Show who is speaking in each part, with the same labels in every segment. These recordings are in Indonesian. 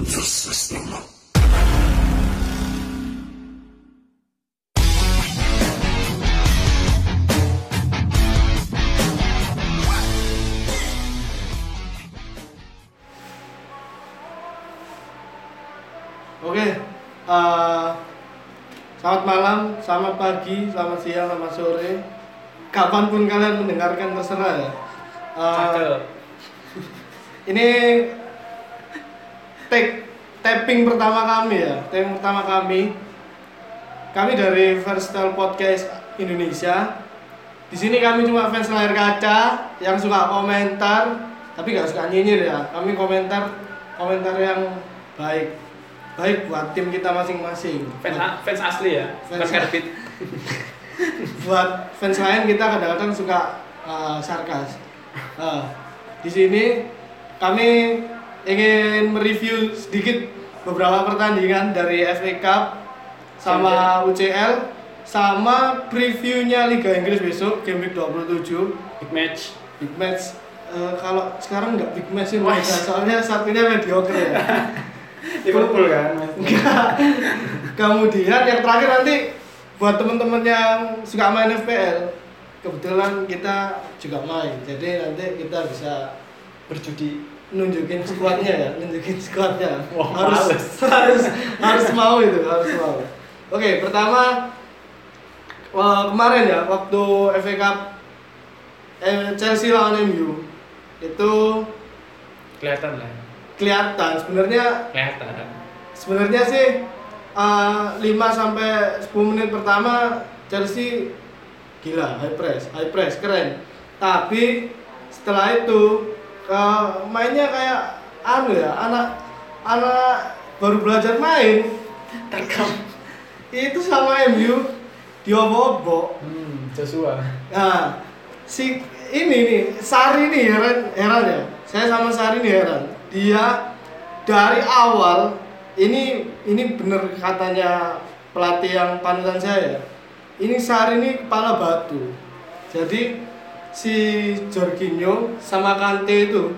Speaker 1: This system.
Speaker 2: Oke, eh, selamat malam, selamat pagi, selamat siang, selamat sore. Kapanpun kalian mendengarkan terserah ya. Eh, ini take tapping pertama kami ya, tapping pertama kami. Kami dari Versatile Podcast Indonesia. Di sini kami cuma fans layar kaca yang suka komentar, tapi nggak suka nyinyir ya. Kami komentar komentar yang baik, baik buat tim kita masing-masing.
Speaker 3: fans, fans asli ya
Speaker 2: Fans
Speaker 3: fans karbit
Speaker 2: buat fans lain kita kadang-kadang suka uh, sarkas. Uh, di sini kami ingin mereview sedikit beberapa pertandingan dari FA Cup sama UCL sama previewnya Liga Inggris besok game week 27
Speaker 3: big match
Speaker 2: big match eh, kalau sekarang nggak big match sih
Speaker 3: Wah.
Speaker 2: mereka, soalnya satunya mediocre ya
Speaker 3: Liverpool kan
Speaker 2: Kemudian yang terakhir nanti buat teman-teman yang suka main FPL, kebetulan kita juga main. Jadi nanti kita bisa
Speaker 3: berjudi
Speaker 2: nunjukin squadnya ya, nunjukin squadnya.
Speaker 3: Wah,
Speaker 2: harus
Speaker 3: males.
Speaker 2: harus harus mau itu, harus mau. Oke, pertama eh, kemarin ya waktu FA Cup eh, Chelsea lawan MU itu
Speaker 3: kelihatan lah
Speaker 2: kelihatan sebenarnya
Speaker 3: kelihatan
Speaker 2: sebenarnya sih eh, 5 sampai 10 menit pertama Chelsea gila high press, high press keren. Tapi setelah itu eh, mainnya kayak anu ya, anak anak baru belajar main
Speaker 3: terkam
Speaker 2: itu sama MU diobok-obok.
Speaker 3: hmm Joshua
Speaker 2: Nah, si ini nih Sari nih heran heran ya. Saya sama Sari nih heran. Dia dari awal ini ini bener katanya pelatih yang panutan saya. ya. Ini Sari ini kepala batu. Jadi si Jorginho sama Kante itu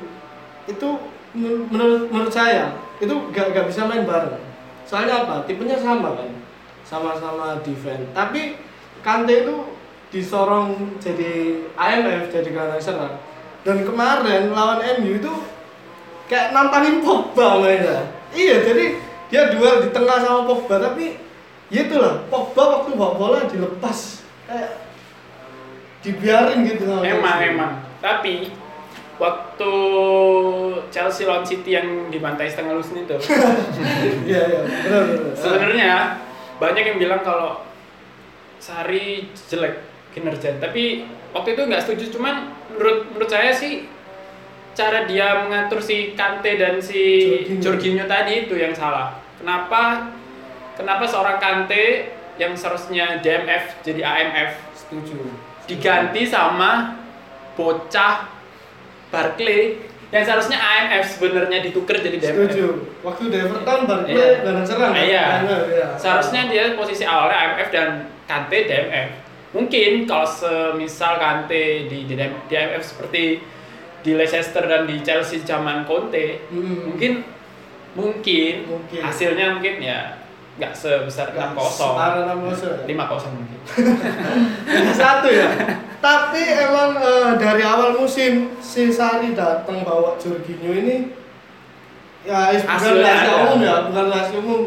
Speaker 2: itu men- menurut menurut saya itu gak, gak bisa main bareng. Soalnya apa? Tipenya sama kan. Sama-sama defense. Tapi Kante itu disorong jadi IMF jadi gelandang serang dan kemarin lawan MU itu kayak nantangin Pogba mainnya iya jadi dia duel di tengah sama Pogba tapi ya itulah Pogba waktu bawa bola dilepas kayak dibiarin gitu sama
Speaker 3: emang
Speaker 2: Chelsea.
Speaker 3: emang tapi waktu Chelsea lawan City yang dibantai setengah lusin itu
Speaker 2: iya iya benar benar
Speaker 3: sebenarnya banyak yang bilang kalau Sari jelek kinerja tapi waktu itu nggak setuju cuman menurut menurut saya sih cara dia mengatur si Kante dan si
Speaker 2: Jorginho.
Speaker 3: Jorginho tadi itu yang salah kenapa kenapa seorang Kante yang seharusnya DMF jadi AMF
Speaker 2: setuju
Speaker 3: diganti sama bocah Barclay yang seharusnya AMF sebenarnya ditukar jadi DMF
Speaker 2: setuju waktu di Everton Barkley
Speaker 3: Iya.
Speaker 2: gelandang serang kan?
Speaker 3: Iya.
Speaker 2: Gelandang, iya.
Speaker 3: Seharusnya dia posisi awalnya AMF dan Kante DMF. Mungkin kalau semisal Kante di, di DM- DMF seperti di Leicester dan di Chelsea zaman Conte,
Speaker 2: Hmm.
Speaker 3: mungkin mungkin
Speaker 2: Mungkin.
Speaker 3: hasilnya mungkin ya nggak sebesar
Speaker 2: Nggak
Speaker 3: 6 kosong
Speaker 2: setara 6-0 ya?
Speaker 3: lima kosong mungkin
Speaker 2: Liga satu ya. Tapi emang eh, dari awal musim si Sari datang bawa Jorginho ini ya is- bukan
Speaker 3: Hasilnya
Speaker 2: rahasia
Speaker 3: ada.
Speaker 2: umum ya, bukan rahasia umum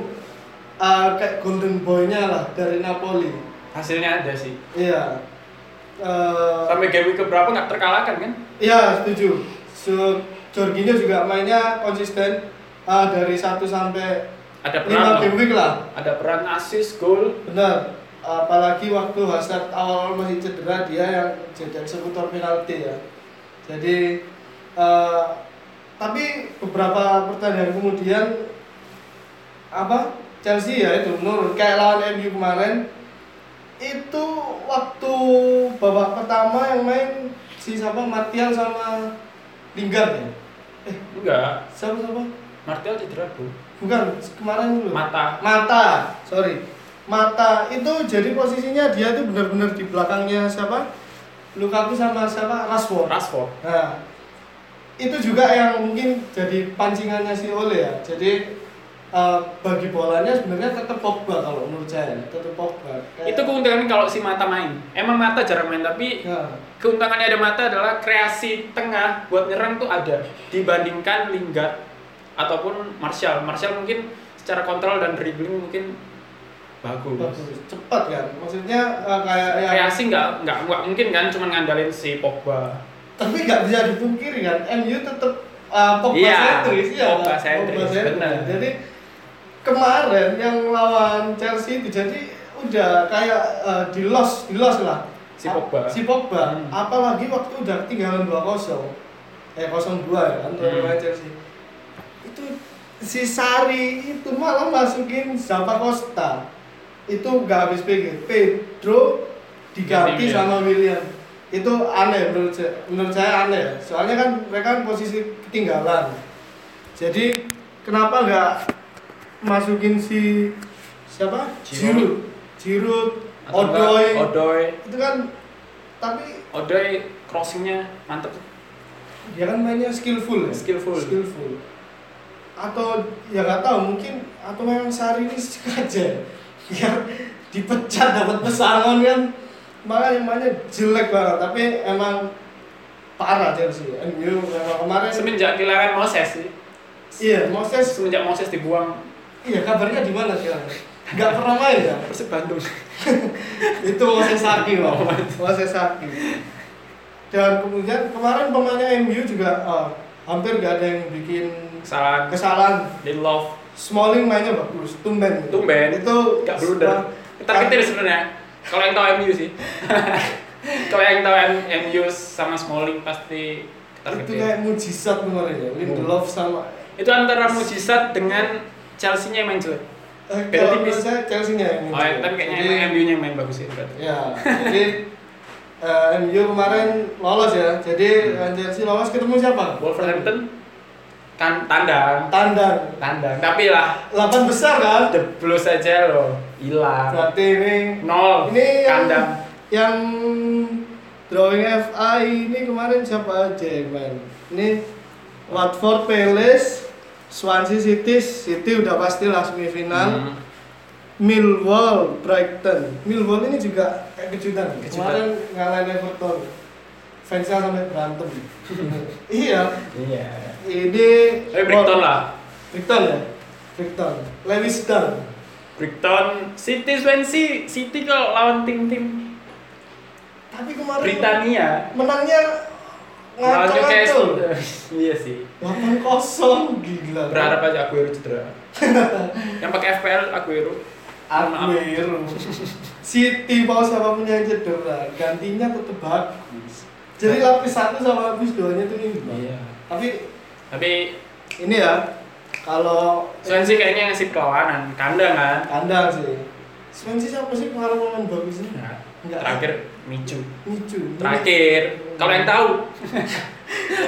Speaker 2: Eh, kayak golden boy-nya lah dari Napoli.
Speaker 3: hasilnya ada sih
Speaker 2: Iya. Eh,
Speaker 3: sampai game week keberapa nggak terkalahkan kan
Speaker 2: Iya setuju. So, Jorginho juga mainnya konsisten eh, dari 1 sampai
Speaker 3: ada
Speaker 2: 5
Speaker 3: peran
Speaker 2: game week Iya, lah.
Speaker 3: ada peran assist gol
Speaker 2: Benar. Apalagi waktu Hazard awal masih cedera dia yang jadi eksekutor penalti ya. Jadi eh, tapi beberapa pertandingan kemudian apa Chelsea ya itu menurun kayak lawan MU kemarin itu waktu babak pertama yang main si siapa Martial sama Lingard ya
Speaker 3: enggak
Speaker 2: siapa siapa
Speaker 3: Martial cedera bro
Speaker 2: bukan kemarin dulu
Speaker 3: mata
Speaker 2: mata sorry mata itu jadi posisinya dia tuh benar-benar di belakangnya siapa Lukaku sama siapa Rashford
Speaker 3: Rashford
Speaker 2: nah itu juga yang mungkin jadi pancingannya si Ole ya jadi eh, bagi bolanya sebenarnya tetap Pogba kalau menurut saya tetap Pogba Kayak-
Speaker 3: Itu keuntungan kalau si Mata main. Emang Mata jarang main tapi
Speaker 2: Ya.
Speaker 3: keuntungannya ada Mata adalah kreasi tengah buat nyerang tuh ada dibandingkan Lingard ataupun Martial. Martial mungkin secara kontrol dan dribbling mungkin bagus.
Speaker 2: bagus cepat kan maksudnya eh, kayak yang
Speaker 3: Kreasi nggak nggak nggak mungkin kan cuma ngandelin si Pogba.
Speaker 2: tapi nggak bisa dipungkiri kan MU tetap uh, Pogba
Speaker 3: Iya,
Speaker 2: sentris ya kan?
Speaker 3: Pogba sentris, benar.
Speaker 2: jadi kemarin yang lawan Chelsea itu jadi udah kayak uh, di loss di loss lah
Speaker 3: Si
Speaker 2: A-
Speaker 3: Pogba.
Speaker 2: si Pogba
Speaker 3: Hmm.
Speaker 2: apalagi waktu udah ketinggalan 2-0 eh 0-2 ya kan
Speaker 3: Hmm.
Speaker 2: lawan Chelsea itu si Sari itu malah masukin Zappa Costa itu nggak habis pikir Pedro diganti
Speaker 3: Ganti Willian.
Speaker 2: sama William itu aneh menurut saya, menurut saya aneh ya. soalnya kan mereka kan posisi ketinggalan jadi kenapa nggak masukin si siapa
Speaker 3: Giroud.
Speaker 2: Giroud Giroud
Speaker 3: Atau nggak,
Speaker 2: Odoi
Speaker 3: Odoi.
Speaker 2: itu kan tapi
Speaker 3: Odoi crossingnya mantep.
Speaker 2: dia kan mainnya skillful ya
Speaker 3: Skillful.
Speaker 2: skillful atau ya nggak tahu mungkin atau memang Sari ini sengaja biar dipecat dapat pesangon kan makanya mainnya jelek banget tapi emang parah Chelsea MU memang kemarin
Speaker 3: Semenjak kehilangan Moses sih.
Speaker 2: iya Moses
Speaker 3: Semenjak Moses dibuang
Speaker 2: iya kabarnya di mana sekarang nggak pernah main ya
Speaker 3: Persib Bandung.
Speaker 2: itu Moses Saki Pak. Moses Saki dan kemudian kemarin pemainnya MU juga eh, hampir nggak ada yang bikin
Speaker 3: Kesalahan.
Speaker 2: kesalahan
Speaker 3: Di love.
Speaker 2: Smalling mainnya bagus, tumben.
Speaker 3: Tumben.
Speaker 2: Itu
Speaker 3: Gak blunder. Kita ketir sebenarnya. Kalau yang tahu MU sih. Kalau yang tahu M- MU sama Smalling pasti ketar
Speaker 2: Itu kan.
Speaker 3: ketir.
Speaker 2: kayak mujizat kemarin ya, Lindelof
Speaker 3: Hmm.
Speaker 2: sama
Speaker 3: Itu antara mujizat dengan Chelsea-nya yang main jelek.
Speaker 2: eh,
Speaker 3: Beda
Speaker 2: kalau
Speaker 3: tipis.
Speaker 2: menurut saya Chelsea-nya yang
Speaker 3: Oh,
Speaker 2: ini.
Speaker 3: ya, tapi kayaknya
Speaker 2: Jadi-
Speaker 3: emang MU-nya yang main bagus sih. berarti.
Speaker 2: Ya, jadi eh, MU kemarin lolos ya. Jadi eh, Chelsea lolos ketemu siapa?
Speaker 3: Hmm. Wolverhampton tan tandang,
Speaker 2: Tandang.
Speaker 3: tandang. Tapi lah,
Speaker 2: 8 besar kan?
Speaker 3: jeblos aja loh, hilang.
Speaker 2: Berarti ini Nah,
Speaker 3: Nol,
Speaker 2: ini yang
Speaker 3: kandang.
Speaker 2: yang drawing FA ini kemarin siapa aja yang main? Ini Watford, Palace, Swansea City, City udah pastilah semifinal.
Speaker 3: Hmm.
Speaker 2: Millwall, Brighton. Millwall ini juga kayak kejutan.
Speaker 3: Kejutan.
Speaker 2: Kemarin ngalahin Everton. Fansnya sampai berantem. iya.
Speaker 3: Iya.
Speaker 2: Ini
Speaker 3: Tapi Eh, Brighton lah.
Speaker 2: Brighton ya. Brighton. Lewis Dunn.
Speaker 3: Brighton, City, Swansea, City kalau lawan tim-tim
Speaker 2: Tapi kemarin
Speaker 3: Britania
Speaker 2: menangnya
Speaker 3: lawan
Speaker 2: ngaco-ngaco.
Speaker 3: Newcastle. iya sih.
Speaker 2: 8 kosong gila.
Speaker 3: Berharap aja Aguero cedera. Yang pakai FPL Aguero.
Speaker 2: Aguero. City mau siapapun yang cedera, gantinya tetap bagus. Jadi lapis satu sama lapis duanya itu imbang.
Speaker 3: Nah. Iya.
Speaker 2: Tapi
Speaker 3: Tapi
Speaker 2: ini ya kalau
Speaker 3: Swansea kayaknya ngasih perlawanan, kandang kan.
Speaker 2: kandang sih. Swansea siapa sih pengaruh pemain bagusnya?
Speaker 3: Nah,
Speaker 2: Enggak. Iya.
Speaker 3: Terakhir Micu.
Speaker 2: Micu.
Speaker 3: Terakhir, kalau yang tahu.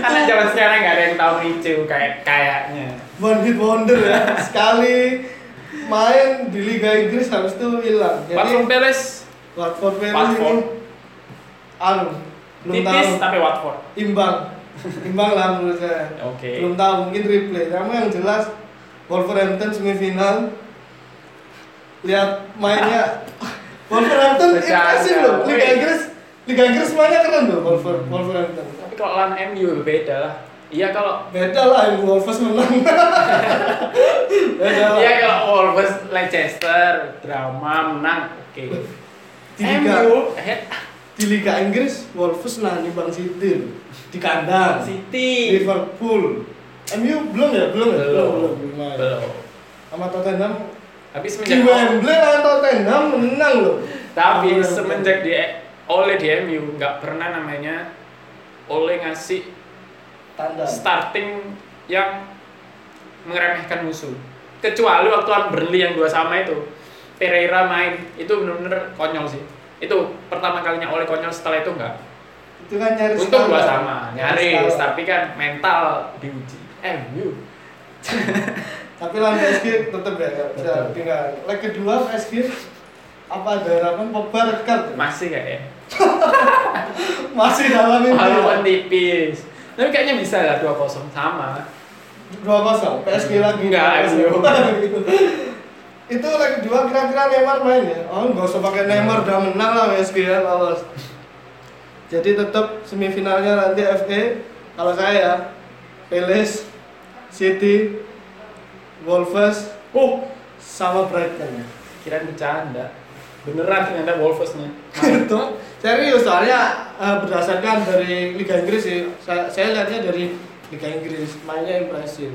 Speaker 3: Anak zaman sekarang nggak ada yang tahu Micu kayak kayaknya.
Speaker 2: One hit wonder ya. Sekali main di Liga Inggris habis itu hilang.
Speaker 3: Watford
Speaker 2: Jadi
Speaker 3: Palace
Speaker 2: Watford Palace
Speaker 3: Watford.
Speaker 2: ini anu belum
Speaker 3: tipis
Speaker 2: tahu.
Speaker 3: tapi Watford.
Speaker 2: imbang imbang lah menurut saya
Speaker 3: Oke.
Speaker 2: belum tahu mungkin replay tapi yang jelas Wolverhampton semifinal lihat mainnya Wolverhampton
Speaker 3: Bercanda.
Speaker 2: impresif loh Liga
Speaker 3: Wih.
Speaker 2: Inggris Liga Inggris mainnya keren loh Wolver- Wolverhampton
Speaker 3: Tapi kalau lawan MU beda lah. Iya kalau
Speaker 2: beda lah yang Wolves menang beda lah
Speaker 3: Iya kalau Wolves Leicester drama menang oke.
Speaker 2: di Liga
Speaker 3: MU eh,
Speaker 2: di Liga Inggris Wolves nah nimbang City loh. di kandang
Speaker 3: City
Speaker 2: Liverpool MU belum ya belum ya belum belum, belum main.
Speaker 3: belum.
Speaker 2: sama Tottenham di
Speaker 3: Tapi semenjak
Speaker 2: Wembley lawan Tottenham menang loh
Speaker 3: Iya. tapi
Speaker 2: Lawan Tottenham.
Speaker 3: semenjak di oleh di MU nggak pernah namanya oleh ngasih
Speaker 2: tanda
Speaker 3: starting yang meremehkan musuh. Kecuali waktu lawan Burnley yang dua sama itu. Pereira main itu bener-bener konyol sih. Itu pertama kalinya oleh konyol setelah itu enggak.
Speaker 2: itu kan nyaris
Speaker 3: Untung gua
Speaker 2: standar.
Speaker 3: sama, nyaris,
Speaker 2: standar.
Speaker 3: tapi kan mental diuji. MU.
Speaker 2: tapi lawan PSG tetap ya nggak bisa
Speaker 3: Tetep.
Speaker 2: tinggal leg kedua PSG apa ada harapan Pogba red card ya?
Speaker 3: masih kayaknya
Speaker 2: masih dalam ini
Speaker 3: kan walaupun tipis tapi kayaknya bisa lah 2-0 sama
Speaker 2: dua kosong PSG lagi
Speaker 3: Enggak,
Speaker 2: PSG.
Speaker 3: MU.
Speaker 2: itu lagi dua kira-kira Neymar main ya oh nggak usah pakai Neymar udah menang lah PSG ya lolos jadi tetap semifinalnya nanti FA kalau saya ya Palace City Wolves
Speaker 3: Oh,
Speaker 2: sama Brighton
Speaker 3: kirain bercanda. Beneran ternyata Wolvesnya.
Speaker 2: itu Gitu. serius soalnya eh, berdasarkan dari Liga Inggris sih saya, saya lihatnya dari Liga Inggris mainnya impresif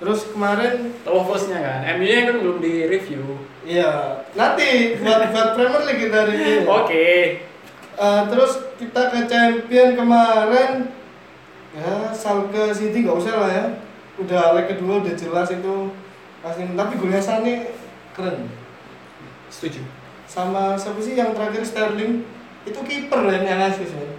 Speaker 2: terus kemarin
Speaker 3: Wolvesnya kan. MU-nya kan belum di review.
Speaker 2: Iya, nanti buat buat Premier League kita review.
Speaker 3: Oke.
Speaker 2: Eh, terus kita ke Champion kemarin ya Salke City nggak usah lah ya. Udah leg kedua udah jelas itu pasti tapi golnya Sane keren.
Speaker 3: Setuju.
Speaker 2: Sama siapa sih yang terakhir Sterling itu kiper lah yang ngasih sih.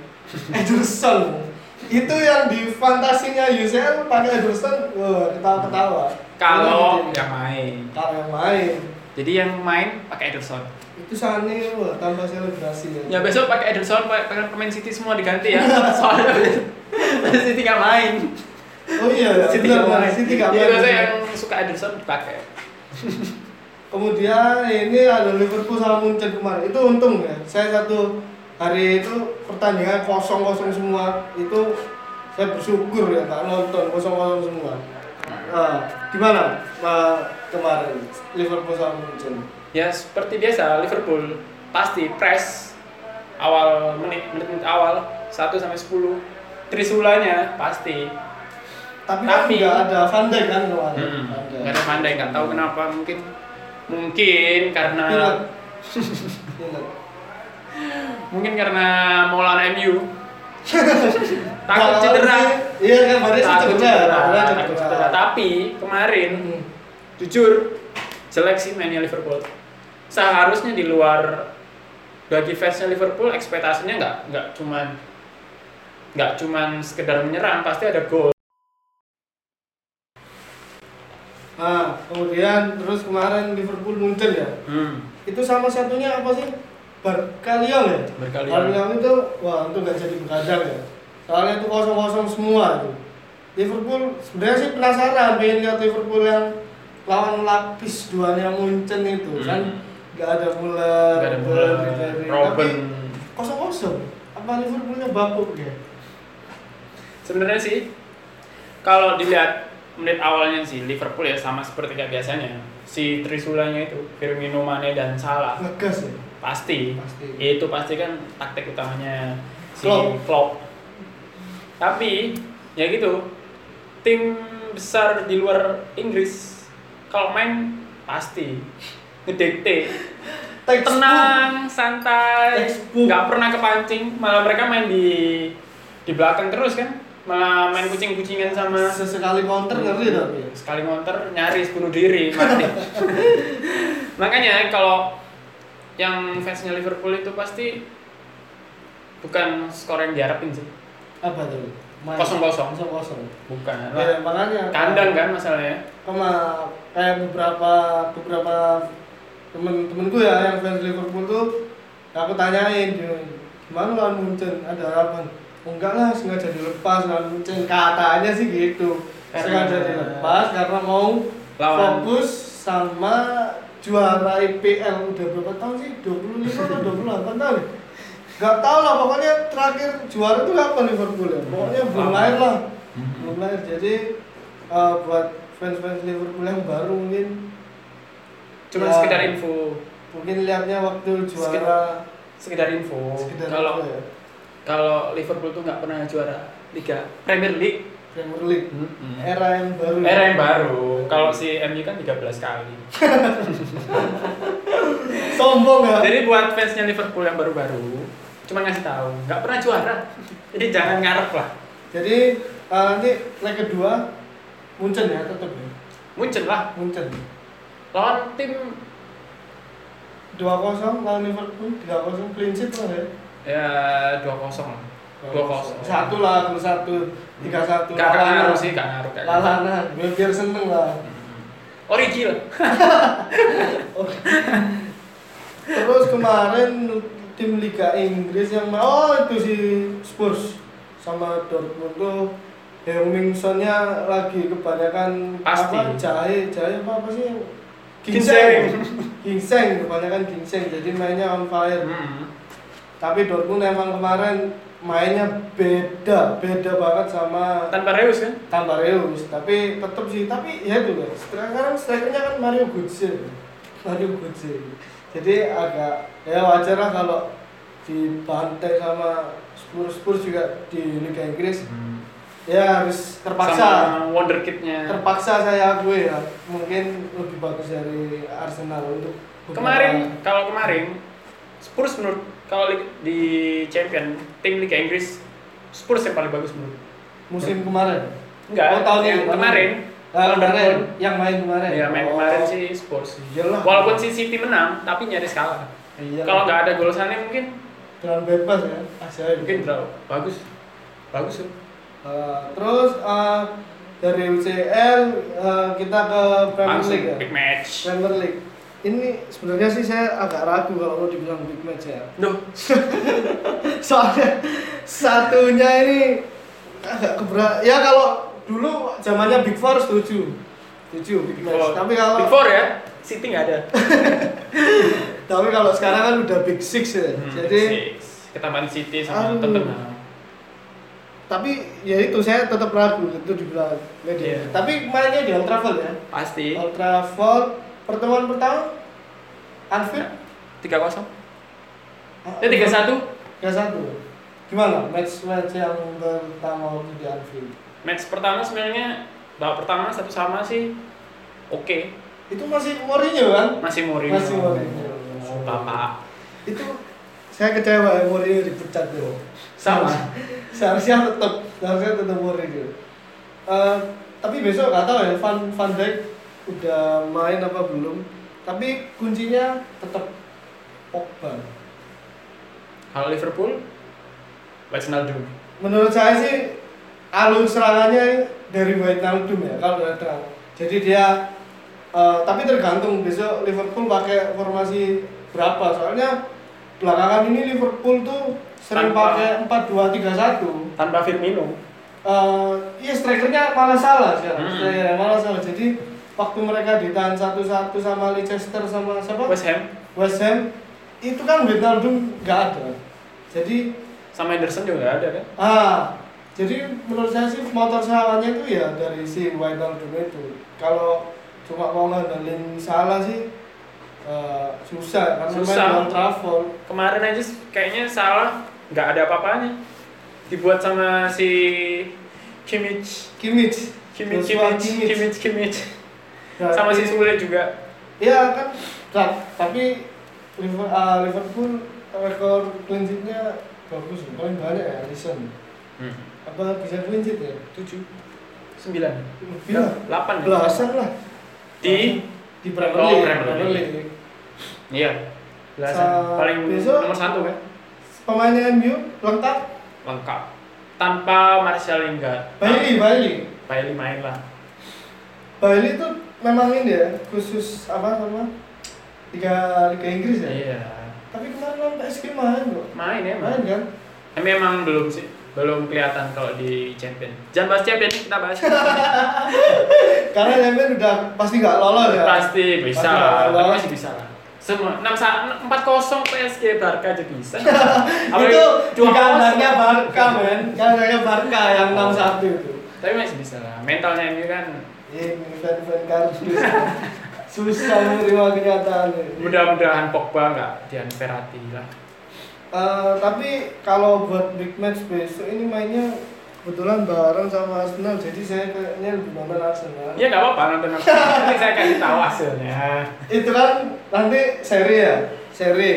Speaker 2: Ederson itu yang di fantasinya UCL pakai Ederson, wah ketawa ketawa. Iya,
Speaker 3: Kalau yang main.
Speaker 2: kalau yang main
Speaker 3: Jadi yang main pakai Ederson.
Speaker 2: itu Sane wah tambah selebrasi ya.
Speaker 3: Ya besok pakai Ederson, pakai pemain City semua diganti ya. Soalnya City nggak main.
Speaker 2: Oh iya,
Speaker 3: City
Speaker 2: benar,
Speaker 3: nggak
Speaker 2: benar.
Speaker 3: main.
Speaker 2: City nggak
Speaker 3: Jadi
Speaker 2: main.
Speaker 3: biasanya yang suka Ederson dipakai.
Speaker 2: Kemudian ini ada Liverpool sama Munchen kemarin. Itu untung ya. Saya satu hari itu pertandingan kosong-kosong semua. Itu saya bersyukur ya nggak nonton kosong-kosong semua. Nah, gimana Pak, kemarin Liverpool sama Munchen?
Speaker 3: Ya seperti biasa Liverpool pasti press awal menit menit, menit awal 1 sampai 10 trisulanya pasti.
Speaker 2: Tapi, kan
Speaker 3: Tapi-
Speaker 2: nggak ada Van Dijk kan kemarin.
Speaker 3: Hmm.
Speaker 2: Van Dijk.
Speaker 3: Gak ada pandai nggak tahu kenapa mungkin mungkin
Speaker 2: Pilot.
Speaker 3: karena
Speaker 2: Pilot.
Speaker 3: mungkin karena mau lawan MU takut
Speaker 2: Kalau
Speaker 3: cedera
Speaker 2: sih- Iya kan, baris
Speaker 3: takut
Speaker 2: cedera.
Speaker 3: cedera,
Speaker 2: Baris
Speaker 3: takut cedera. tapi kemarin
Speaker 2: Hmm.
Speaker 3: jujur jelek sih mainnya Liverpool seharusnya di luar bagi fansnya Liverpool ekspektasinya nggak nggak cuman nggak cuman sekedar menyerang pasti ada gol
Speaker 2: Nah, kemudian terus kemarin Liverpool muncul ya.
Speaker 3: hmm.
Speaker 2: Itu sama satunya apa sih? Berkalion ya?
Speaker 3: Berkalion.
Speaker 2: Berkalion itu, wah itu nggak jadi begadang ya. Soalnya itu kosong-kosong semua itu. Liverpool sebenarnya sih penasaran pengen lihat Liverpool yang lawan lapis duaan yang muncul itu
Speaker 3: Hmm.
Speaker 2: kan nggak ada Muller,
Speaker 3: Nggak ada Muller,
Speaker 2: Ribéry.
Speaker 3: Robben.
Speaker 2: Tapi kosong-kosong. Apa Liverpoolnya babuk ya?
Speaker 3: sebenarnya sih kalau dilihat menit awalnya sih Liverpool ya sama seperti kayak biasanya si trisulanya itu Firmino Mane dan Salah
Speaker 2: Ngegas ya?
Speaker 3: pasti,
Speaker 2: Pasti.
Speaker 3: itu pasti kan taktik utamanya si
Speaker 2: Klopp.
Speaker 3: Klopp. tapi ya gitu tim besar di luar Inggris kalau main pasti ngedikte
Speaker 2: Textbook.
Speaker 3: tenang santai
Speaker 2: Textbook.
Speaker 3: nggak pernah kepancing malah mereka main di di belakang terus kan malah main kucing-kucingan sama
Speaker 2: Sesekali counter ngeri tapi ya.
Speaker 3: sekali ngonter nyaris bunuh diri mati makanya kalau yang fansnya Liverpool itu pasti bukan skor yang diharapin sih
Speaker 2: apa tuh? Main.
Speaker 3: Kosong-kosong.
Speaker 2: Kosong-kosong.
Speaker 3: bukan
Speaker 2: Ya,
Speaker 3: lah
Speaker 2: makanya
Speaker 3: kandang kan masalahnya
Speaker 2: sama kayak beberapa beberapa temen-temenku ya yang fans Liverpool tuh aku tanyain dia, gimana lawan Munchen ada harapan "Oh, enggak lah sengaja dilepas lawan Munchen katanya sih gitu
Speaker 3: Karena-
Speaker 2: sengaja dilepas karena mau
Speaker 3: Eh. Lawan-
Speaker 2: fokus sama juara IPL udah berapa tahun sih 25 atau 28 tahun ya? Gak tau lah pokoknya terakhir juara itu kapan Liverpool ya pokoknya belum
Speaker 3: Lama.
Speaker 2: lahir lah
Speaker 3: Hmm.
Speaker 2: belum lahir jadi eh, buat fans-fans Liverpool yang baru mungkin
Speaker 3: cuma
Speaker 2: Ya.
Speaker 3: sekedar info
Speaker 2: mungkin lihatnya waktu juara
Speaker 3: Sekedar- sekedar info
Speaker 2: sekedar
Speaker 3: kalau
Speaker 2: apa ya,
Speaker 3: kalau Liverpool tuh nggak pernah juara Liga Premier League
Speaker 2: Premier League
Speaker 3: Mm-mm.
Speaker 2: era yang baru
Speaker 3: Hmm, era yang baru kalau si MU kan 13 kali
Speaker 2: sombong ya
Speaker 3: jadi buat fansnya Liverpool yang baru-baru cuma ngasih tahu nggak pernah juara jadi jangan ngarep lah
Speaker 2: jadi eh, nanti leg kedua Munchen ya tetap ya
Speaker 3: muncul lah
Speaker 2: Munchen
Speaker 3: lawan tim
Speaker 2: 2-0 lawan Liverpool 3-0 clean sheet lah ya
Speaker 3: ya dua kosong lah dua kosong
Speaker 2: satu lah gol satu tiga satu
Speaker 3: gak gak ngaruh sih gak ngaruh gitu. Oh, gak ngaruh.
Speaker 2: lalana biar, biar seneng lah
Speaker 3: origi lah
Speaker 2: terus kemarin tim Liga Inggris yang ma- oh itu si Spurs sama Dortmund tuh Heung-Min-Sonnya lagi kebanyakan
Speaker 3: Pasti.
Speaker 2: apa jahe jahe apa apa sih
Speaker 3: Ginseng.
Speaker 2: ginseng ginseng kebanyakan ginseng jadi mainnya on fire
Speaker 3: Hmm.
Speaker 2: tapi Dortmund emang kemarin mainnya beda beda banget sama
Speaker 3: Tanpa Reus kan?
Speaker 2: tanpa Reus tapi tetap sih tapi ya itu kan sekarang strikernya kan Mario Götze Mario Götze jadi agak ya wajar lah kalau dibantai sama Spurs Spurs juga di Liga Inggris ya harus terpaksa
Speaker 3: Sama wonderkidnya.
Speaker 2: terpaksa saya akui ya mungkin lebih bagus dari Arsenal untuk beberapa-
Speaker 3: Kemarin kalau kemarin Spurs menurut kalau li- di champion tim Liga Inggris Spurs yang paling bagus menurut.
Speaker 2: musim kemarin
Speaker 3: Enggak,
Speaker 2: Oh, tahun
Speaker 3: yang
Speaker 2: ini,
Speaker 3: kemarin.
Speaker 2: Ah,
Speaker 3: Lawan
Speaker 2: kemarin
Speaker 3: Dortmund.
Speaker 2: yang main kemarin
Speaker 3: Ya main
Speaker 2: Oh,
Speaker 3: kemarin sih Spurs.
Speaker 2: iyalah
Speaker 3: Walaupun si City menang, tapi nyaris kalah.
Speaker 2: iya
Speaker 3: Kalau nggak ada gol Sané mungkin
Speaker 2: dengan bebas ya ajaib
Speaker 3: mungkin draw. Bagus. Bagus ya. tuh.
Speaker 2: Uh, terus uh, dari UCL uh, kita ke Premier
Speaker 3: Langsung
Speaker 2: League ya.
Speaker 3: big match.
Speaker 2: Premier League. Ini sebenarnya sih saya agak ragu kalau mau dibilang big match ya.
Speaker 3: Duh,
Speaker 2: Soalnya satunya ini agak keberat. Ya kalau dulu zamannya Big Four setuju. Setuju big
Speaker 3: Big
Speaker 2: match.
Speaker 3: Four.
Speaker 2: Tapi kalau
Speaker 3: Big Four ya, City nggak ada.
Speaker 2: tapi kalau sekarang kan udah Big Six ya.
Speaker 3: Hmm,
Speaker 2: Jadi
Speaker 3: six. ketambahan City sama
Speaker 2: Aduh.
Speaker 3: Tottenham.
Speaker 2: tapi ya itu saya tetap ragu itu dibilang media.
Speaker 3: Iya.
Speaker 2: Tapi mainnya di Old Trafford ya.
Speaker 3: Pasti.
Speaker 2: Old Trafford pertemuan pertama Anfield
Speaker 3: Tiga kosong. Eh tiga satu.
Speaker 2: 3-1. Gimana match match yang pertama waktu di Anfield?
Speaker 3: Match pertama sebenarnya babak pertama satu sama sih. Oke,
Speaker 2: Itu masih Mourinho kan?
Speaker 3: masih Mourinho.
Speaker 2: Masih Mourinho.
Speaker 3: Bapak.
Speaker 2: Itu saya kecewa ya Mourinho dipecat tuh.
Speaker 3: Sama.
Speaker 2: Seharusnya tetap seharusnya tetap Mourinho. Eh, tapi besok nggak tahu ya Van Van Dijk udah main apa belum. Tapi kuncinya tetap Pogba.
Speaker 3: Kalau Liverpool, Wijnaldum.
Speaker 2: menurut saya sih alur serangannya dari Wijnaldum ya kalau ada jadi dia eh, tapi tergantung besok Liverpool pakai formasi berapa soalnya belakangan ini Liverpool tuh sering
Speaker 3: Tanpa-
Speaker 2: pakai 4-2-3-1
Speaker 3: Tanpa Firmino.
Speaker 2: Eh, iya strikernya malah salah sekarang
Speaker 3: Hmm.
Speaker 2: strikernya malah salah jadi waktu mereka ditahan satu-satu sama Leicester sama siapa
Speaker 3: West Ham
Speaker 2: West Ham itu kan Wijnaldum nggak ada jadi
Speaker 3: sama Henderson juga nggak ada kan?
Speaker 2: Ah, jadi menurut saya sih motor serangannya itu ya dari si Wijnaldum itu. Kalau cuma mau ngandelin salah sih eh, susah karena
Speaker 3: Susah.
Speaker 2: main Old Trafford.
Speaker 3: Kemarin aja s- kayaknya salah, nggak ada apa-apanya. Dibuat sama si Kimmich,
Speaker 2: Kimmich,
Speaker 3: Kimmich,
Speaker 2: Joshua
Speaker 3: Kimmich, Kimmich, Kimmich.
Speaker 2: Nah,
Speaker 3: Sama si
Speaker 2: i-
Speaker 3: Sule juga.
Speaker 2: Iya kan, nah, tapi Liver- ah, Liverpool rekor clean sheet-nya bagus, paling banyak ya Alisson. Apa bisa clean sheet ya?
Speaker 3: Tujuh, sembilan,
Speaker 2: Lebih lah,
Speaker 3: delapan. ya?
Speaker 2: Iya. belasan lah.
Speaker 3: Di
Speaker 2: di Premier
Speaker 3: Oh,
Speaker 2: League.
Speaker 3: Premier
Speaker 2: Premier
Speaker 3: League.
Speaker 2: League.
Speaker 3: Iya. Belasan.
Speaker 2: Sa-
Speaker 3: Paling
Speaker 2: Eh, besok-
Speaker 3: nomor satu kan?
Speaker 2: Pemainnya MU lengkap.
Speaker 3: Lengkap. Tanpa Martial Lingard.
Speaker 2: Bailey, Bailey.
Speaker 3: Bailey main lah.
Speaker 2: Bali itu memang ini ya khusus apa sama Liga Liga Inggris ya.
Speaker 3: Iya.
Speaker 2: Tapi kemarin lawan PSG main kok.
Speaker 3: Main ya
Speaker 2: Main kan?
Speaker 3: Tapi emang belum sih belum kelihatan kalau di champion. Jangan bahas champion kita bahas.
Speaker 2: Karena Champions udah pasti nggak lolos ya.
Speaker 3: Pasti bisa
Speaker 2: Pasti
Speaker 3: lah,
Speaker 2: lolos.
Speaker 3: tapi masih bisa lah. Semua enam sa empat kosong PSG Barca aja bisa.
Speaker 2: itu di
Speaker 3: dua
Speaker 2: kandangnya Barca men, kandangnya Barca yang 6-1 itu. Iya,
Speaker 3: Tapi masih bisa lah. Mentalnya ini kan
Speaker 2: Ini fan-fan kardus. Susah menerima kenyataan ini.
Speaker 3: mudah-mudahan Pogba nggak Dian Ferrati lah.
Speaker 2: Eh, tapi kalau buat big match besok ini mainnya kebetulan bareng sama Arsenal jadi saya kayaknya lebih nonton Arsenal.
Speaker 3: Ya nggak apa-apa nonton nonton. Nanti saya kasih tahu hasilnya.
Speaker 2: itu kan nanti seri ya seri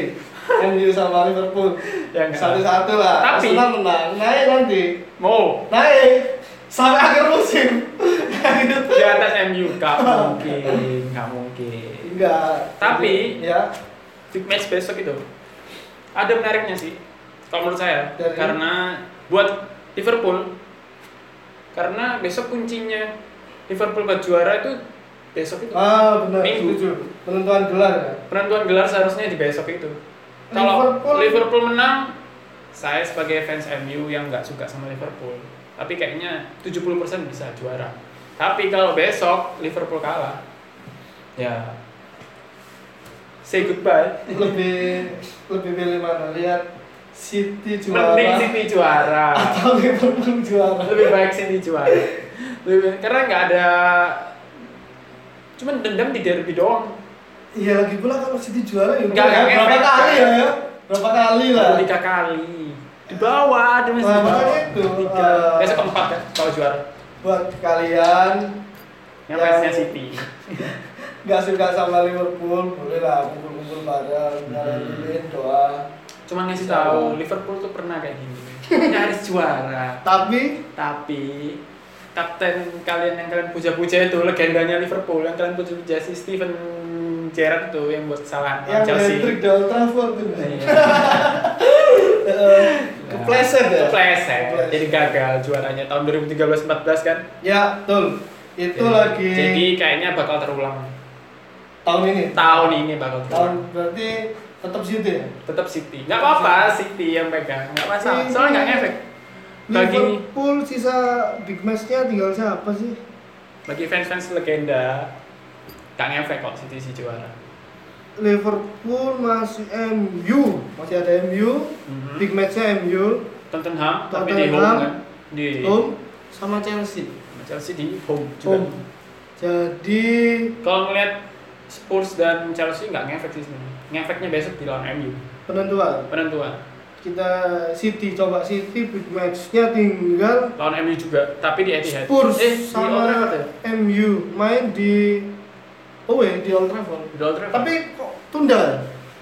Speaker 2: MU sama Liverpool
Speaker 3: Ya enggak.
Speaker 2: satu-satu lah
Speaker 3: Tapi-
Speaker 2: Arsenal menang naik nanti
Speaker 3: Mau
Speaker 2: naik sampai akhir musim
Speaker 3: di atas MU nggak mungkin, nggak mungkin.
Speaker 2: enggak
Speaker 3: Tapi-
Speaker 2: ya
Speaker 3: big match besok itu ada menariknya sih kalau menurut saya
Speaker 2: Dari?
Speaker 3: karena buat Liverpool karena besok kuncinya Liverpool buat juara itu besok itu
Speaker 2: ah benar
Speaker 3: Minggu.
Speaker 2: setuju penentuan gelar ya
Speaker 3: penentuan gelar seharusnya di besok itu kalau
Speaker 2: Liverpool-
Speaker 3: Liverpool menang saya sebagai fans MU yang nggak suka sama Liverpool tapi kayaknya 70% bisa juara tapi kalau besok Liverpool kalah ya say goodbye
Speaker 2: lebih lebih pilih mana lihat City juara
Speaker 3: mending City juara
Speaker 2: atau Liverpool juara
Speaker 3: lebih baik City juara lebih baik- karena nggak ada cuman dendam di derby doang
Speaker 2: iya lagi pula kalau City juara ya
Speaker 3: Nggak,
Speaker 2: udah,
Speaker 3: nggak
Speaker 2: berapa
Speaker 3: efek.
Speaker 2: kali ya ya? berapa kali lah
Speaker 3: tiga kali di bawah ada masih
Speaker 2: Nah,
Speaker 3: di bawah
Speaker 2: makanya itu,
Speaker 3: tiga
Speaker 2: eh,
Speaker 3: besok keempat ya kalau juara
Speaker 2: buat kalian
Speaker 3: yang
Speaker 2: Yang-
Speaker 3: fansnya City
Speaker 2: nggak suka sama Liverpool boleh lah kumpul-kumpul bareng kalian pilih doa
Speaker 3: cuman ngasih tahu Liverpool tuh pernah kayak gini nyaris juara
Speaker 2: tapi
Speaker 3: tapi kapten kalian yang kalian puja-puja itu legendanya Liverpool yang kalian puja-puja si Steven Gerrard tuh yang buat kesalahan
Speaker 2: yang
Speaker 3: Chelsea
Speaker 2: hat-trick di Old Trafford itu
Speaker 3: Iya.
Speaker 2: Eh, kepleset ya
Speaker 3: Kepleset.
Speaker 2: Kepleset.
Speaker 3: jadi gagal juaranya tahun 2013-14 kan
Speaker 2: ya betul itu
Speaker 3: Jadi-
Speaker 2: lagi
Speaker 3: Iya. jadi kayaknya bakal terulang
Speaker 2: tahun ini
Speaker 3: tahun ini bakal
Speaker 2: tahun
Speaker 3: terulang
Speaker 2: berarti tetap City ya
Speaker 3: tetap City nggak apa-apa City yang pegang nggak masalah
Speaker 2: Ini-
Speaker 3: soalnya nggak efek bagi
Speaker 2: Liverpool sisa big matchnya tinggal siapa sih
Speaker 3: bagi fans-fans legenda nggak ngefek kok City si juara
Speaker 2: Liverpool masih MU masih ada MU
Speaker 3: Mhm.
Speaker 2: big matchnya MU
Speaker 3: Tottenham tapi di
Speaker 2: Tottenham,
Speaker 3: home kan di
Speaker 2: home sama Chelsea
Speaker 3: Chelsea di home juga.
Speaker 2: home jadi
Speaker 3: Kalau ngelihat Spurs dan Chelsea nggak ngefek sih sebenarnya. Ngefeknya besok di lawan MU.
Speaker 2: penentuan
Speaker 3: Penentuan.
Speaker 2: kita City coba City big matchnya tinggal
Speaker 3: Lawan MU juga, tapi di Etihad.
Speaker 2: Spurs
Speaker 3: eh, di Old
Speaker 2: sama
Speaker 3: Trafford ya?
Speaker 2: MU main di away di Old Trafford
Speaker 3: Di Old Trafford.
Speaker 2: tapi kok tunda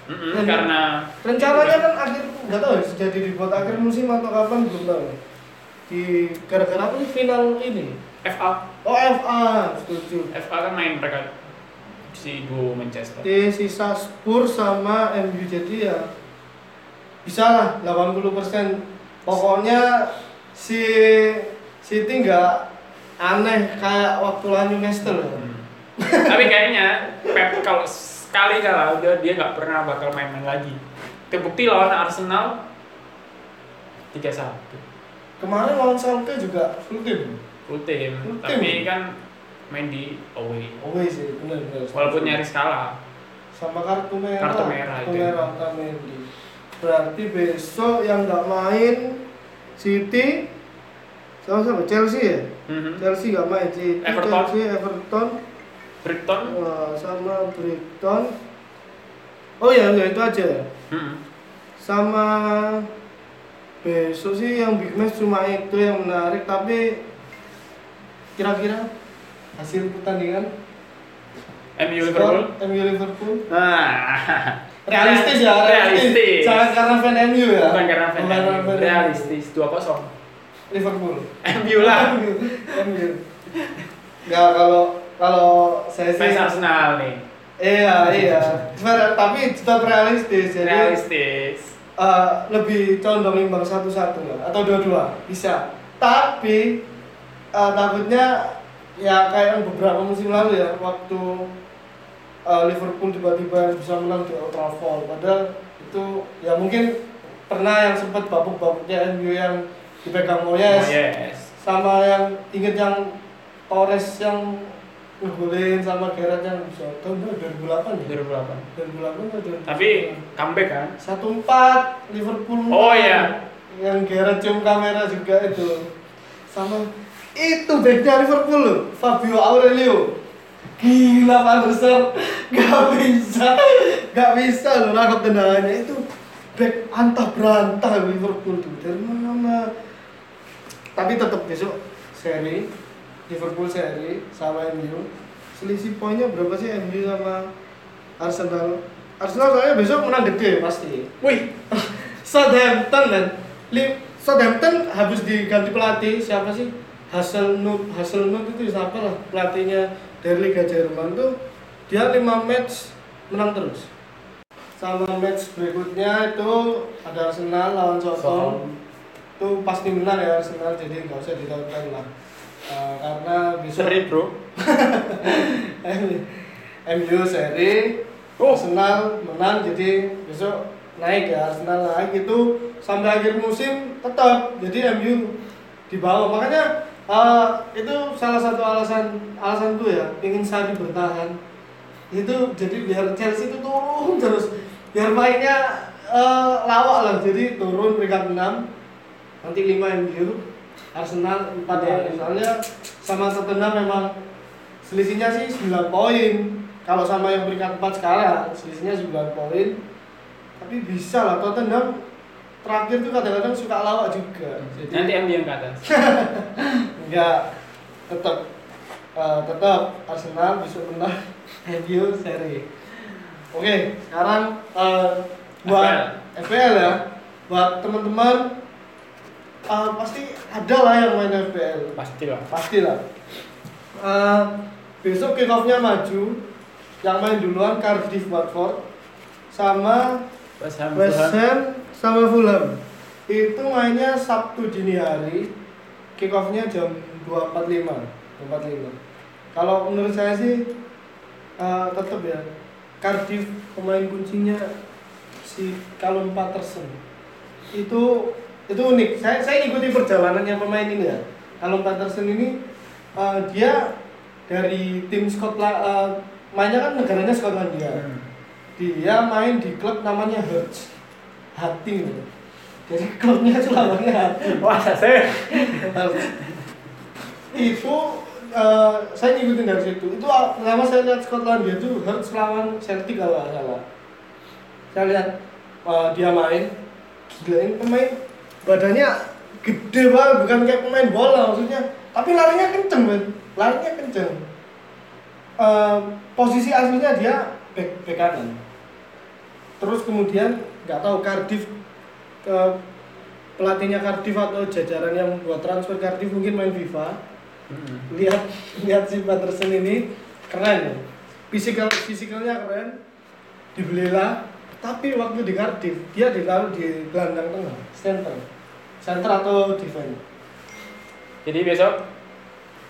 Speaker 3: Mm-mm,
Speaker 2: Dan-
Speaker 3: karena
Speaker 2: rencananya kan akhir nggak tahu ya jadi dibuat akhir musim atau kapan belum tahu di gara-gara apa sih final ini
Speaker 3: FA,
Speaker 2: oh FA setuju
Speaker 3: FA kan main mereka si duo Manchester.
Speaker 2: di sisa Spurs sama MU jadi ya bisa lah 80% pokoknya si City nggak aneh kayak waktu lawan Newcastle ya.
Speaker 3: Hmm. tapi kayaknya Pep kalau sekali kalah udah dia nggak pernah bakal main-main lagi. Terbukti lawan Arsenal 3-1.
Speaker 2: kemarin lawan Schalke juga full tim
Speaker 3: full tim,
Speaker 2: Full tim.
Speaker 3: tapi kan main di away
Speaker 2: away sih benar-benar
Speaker 3: walaupun nyaris kalah
Speaker 2: sama kartu merah
Speaker 3: Kartu merah
Speaker 2: kartu
Speaker 3: itu. ya.
Speaker 2: merah Otamendi. berarti besok yang nggak main City sama siapa Chelsea ya
Speaker 3: Mhm.
Speaker 2: Chelsea nggak main City
Speaker 3: Hmm. Everton.
Speaker 2: Chelsea Everton
Speaker 3: Brighton
Speaker 2: Wah, sama Brighton oh ya udah itu aja ya
Speaker 3: mhm.
Speaker 2: sama besok sih yang big match cuma itu yang menarik tapi kira-kira hasil pertandingan
Speaker 3: MU Liverpool
Speaker 2: skor MU Liverpool
Speaker 3: nah
Speaker 2: realistis ya
Speaker 3: realistis
Speaker 2: jangan karena fan MU ya
Speaker 3: bukan karena fan
Speaker 2: Bukan
Speaker 3: MU.
Speaker 2: MU.
Speaker 3: realistis 2-0
Speaker 2: Liverpool
Speaker 3: MU lah
Speaker 2: MU nggak kalau kalau saya sih
Speaker 3: fans Arsenal nih
Speaker 2: iya iya Sebenarnya- tapi tetap realistis jadi
Speaker 3: realistis
Speaker 2: eh, lebih condong imbang satu satu lah atau dua dua bisa tapi eh, takutnya ya kayak yang beberapa musim lalu ya waktu eh, Liverpool tiba-tiba bisa menang di Old Trafford padahal itu ya mungkin pernah yang sempat babuk-babuknya MU yang dipegang Moyes
Speaker 3: Oh, yes
Speaker 2: sama yang inget yang Torres yang ngegolin sama Gerrard yang bisa tahun berapa 2008 ya 2008 atau 2009?
Speaker 3: 2008 tapi comeback kan
Speaker 2: satu empat Liverpool
Speaker 3: Oh,
Speaker 2: menang.
Speaker 3: iya.
Speaker 2: yang Gerrard cium kamera juga itu sama itu backnya Liverpool loh Fabio Aurelio gila Van der Sar gak bisa gak bisa loh nangkap tendangannya itu back antah berantah Liverpool tuh dari mana tapi tetap besok seri Liverpool seri sama MU selisih poinnya berapa sih MU sama Arsenal Arsenal soalnya besok menang gede pasti
Speaker 3: wih
Speaker 2: Southampton kan Li- Southampton habis diganti pelatih siapa sih Haselnut Haselnut itu siapa lah pelatihnya dari Liga Jerman tuh dia 5 match menang terus sama match berikutnya itu ada Arsenal lawan Southampton
Speaker 3: Soal-
Speaker 2: itu pasti menang ya Arsenal jadi nggak usah ditonton lah Eh, karena besok
Speaker 3: seri bro
Speaker 2: MU seri
Speaker 3: Oh.
Speaker 2: Arsenal menang jadi besok naik ya Arsenal naik itu sampai akhir musim tetap jadi MU dibawa makanya eh, itu salah satu alasan alasan gue ya ingin Sari bertahan itu jadi biar Chelsea itu turun terus biar mainnya eh, lawak lah jadi turun peringkat 6 nanti 5 MU Arsenal 4 ya misalnya sama Tottenham memang selisihnya sih 9 poin kalau sama yang peringkat 4 sekarang selisihnya 9 poin tapi bisa lah Tottenham terakhir tuh kadang-kadang suka lawak juga jadi
Speaker 3: Nanti MU yang ke atas.
Speaker 2: enggak tetap eh, tetap Arsenal bisa menang MU seri oke sekarang eh, buat FPL. ya buat teman-teman eh, pasti ada lah yang main FPL
Speaker 3: Pasti lah.
Speaker 2: pastilah Eh, besok kick off-nya maju yang main duluan Cardiff Watford sama
Speaker 3: West Ham.
Speaker 2: West
Speaker 3: Fulham.
Speaker 2: Ham sama Fulham itu mainnya Sabtu dini hari kick off-nya jam 2.45 2.45 kalau menurut saya sih eh, tetap ya Cardiff pemain kuncinya si Callum Patterson itu itu unik saya saya ikuti perjalanannya pemain ini ya Callum Patterson ini eh, dia dari tim Scotland eh, mainnya kan negaranya Skotlandia
Speaker 3: Hmm.
Speaker 2: dia main di klub namanya Hertz Hati gitu. jadi klubnya itu namanya Hati
Speaker 3: Wah, saya.
Speaker 2: Hertz. itu eh, saya ngikutin dari situ itu aw- pertama saya lihat Skotlandia itu Hertz lawan Celtic kalau nggak salah saya lihat eh, dia main gila ini pemain badannya gede banget bukan kayak pemain bola maksudnya tapi larinya kenceng banget larinya kenceng Eh, posisi aslinya dia back, back kanan terus kemudian nggak tahu Cardiff ke pelatihnya Cardiff atau jajaran yang buat transfer Cardiff mungkin main FIFA
Speaker 3: Hmm.
Speaker 2: lihat lihat si Patterson ini keren physical physicalnya keren dibelilah tapi waktu di Cardiff dia ditaruh di gelandang tengah center center atau defense
Speaker 3: Jadi besok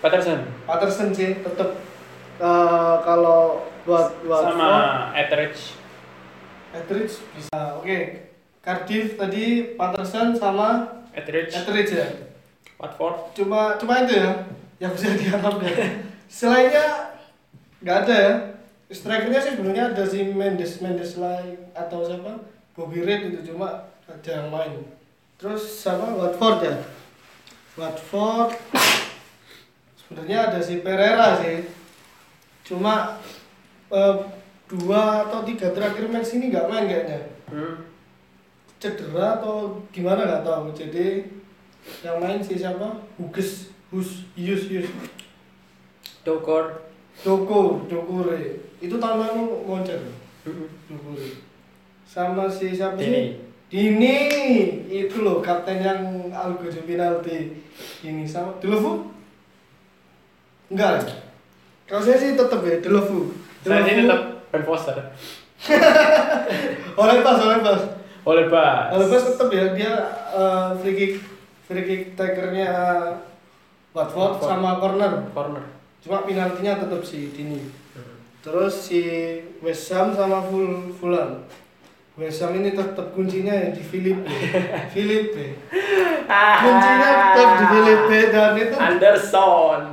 Speaker 3: Patterson
Speaker 2: Patterson sih tetap eh, kalau buat buat
Speaker 3: sama Etheridge.
Speaker 2: Etheridge bisa oke Cardiff tadi Patterson sama
Speaker 3: Etheridge.
Speaker 2: Etheridge ya
Speaker 3: Watford.
Speaker 2: cuma cuma itu ya yang bisa diharapkan selainnya nggak ada ya strikernya sih sebenarnya ada si Mendes Mendes lain atau siapa Bobby Reed itu cuma ada yang main terus sama Watford ya Watford sebenarnya ada si Pereira sih cuma eh, dua atau tiga terakhir match ini nggak main kayaknya
Speaker 3: Hmm.
Speaker 2: cedera atau gimana nggak tahu jadi yang main si siapa Huges Hus Yus Yus
Speaker 3: Dokor.
Speaker 2: Doko Dokure itu tahun lalu moncer
Speaker 3: Hmm.
Speaker 2: Dokure sama si siapa
Speaker 3: Dini.
Speaker 2: sih Dini itu loh kapten yang algojo penalti ini sama Delovu enggak ya? kalau saya sih tetap ya Delovu
Speaker 3: Saya
Speaker 2: Delovu-
Speaker 3: sih tetap Ben Foster.
Speaker 2: oleh pas oleh pas
Speaker 3: Oleh Bas.
Speaker 2: Alves tetap ya dia eh, free kick free kick takernya eh, Watford
Speaker 3: Watford.
Speaker 2: sama corner.
Speaker 3: Corner.
Speaker 2: Cuma penaltinya tetap si Dini. Terus si West Ham sama Ful Fulham. West Ham ini tetap kuncinya ya di Philippe. Philippe. Kuncinya tetap di Philippe dan itu
Speaker 3: Anderson.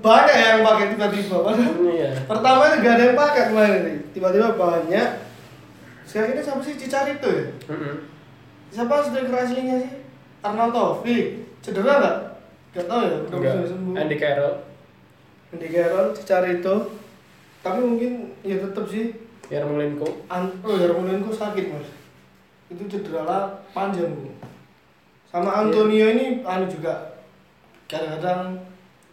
Speaker 2: banyak yang pakai tiba-tiba. Padahal
Speaker 3: Iya.
Speaker 2: Pertama itu gak ada yang pakai kemarin nih. Tiba-tiba banyak. Sekarang ini siapa sih Cicarito ya?
Speaker 3: Hmm.
Speaker 2: siapa striker aslinya sih Arnold Taufik cedera nggak nggak tahu ya udah
Speaker 3: Enggak.
Speaker 2: bisa sembuh
Speaker 3: Andy Carroll.
Speaker 2: Andy Carroll cari itu tapi mungkin ya tetap sih
Speaker 3: Yarmolenko.
Speaker 2: An oh Yarmolenko sakit mas itu cedera lah panjang Bu. sama Antonio ini anu juga kadang-kadang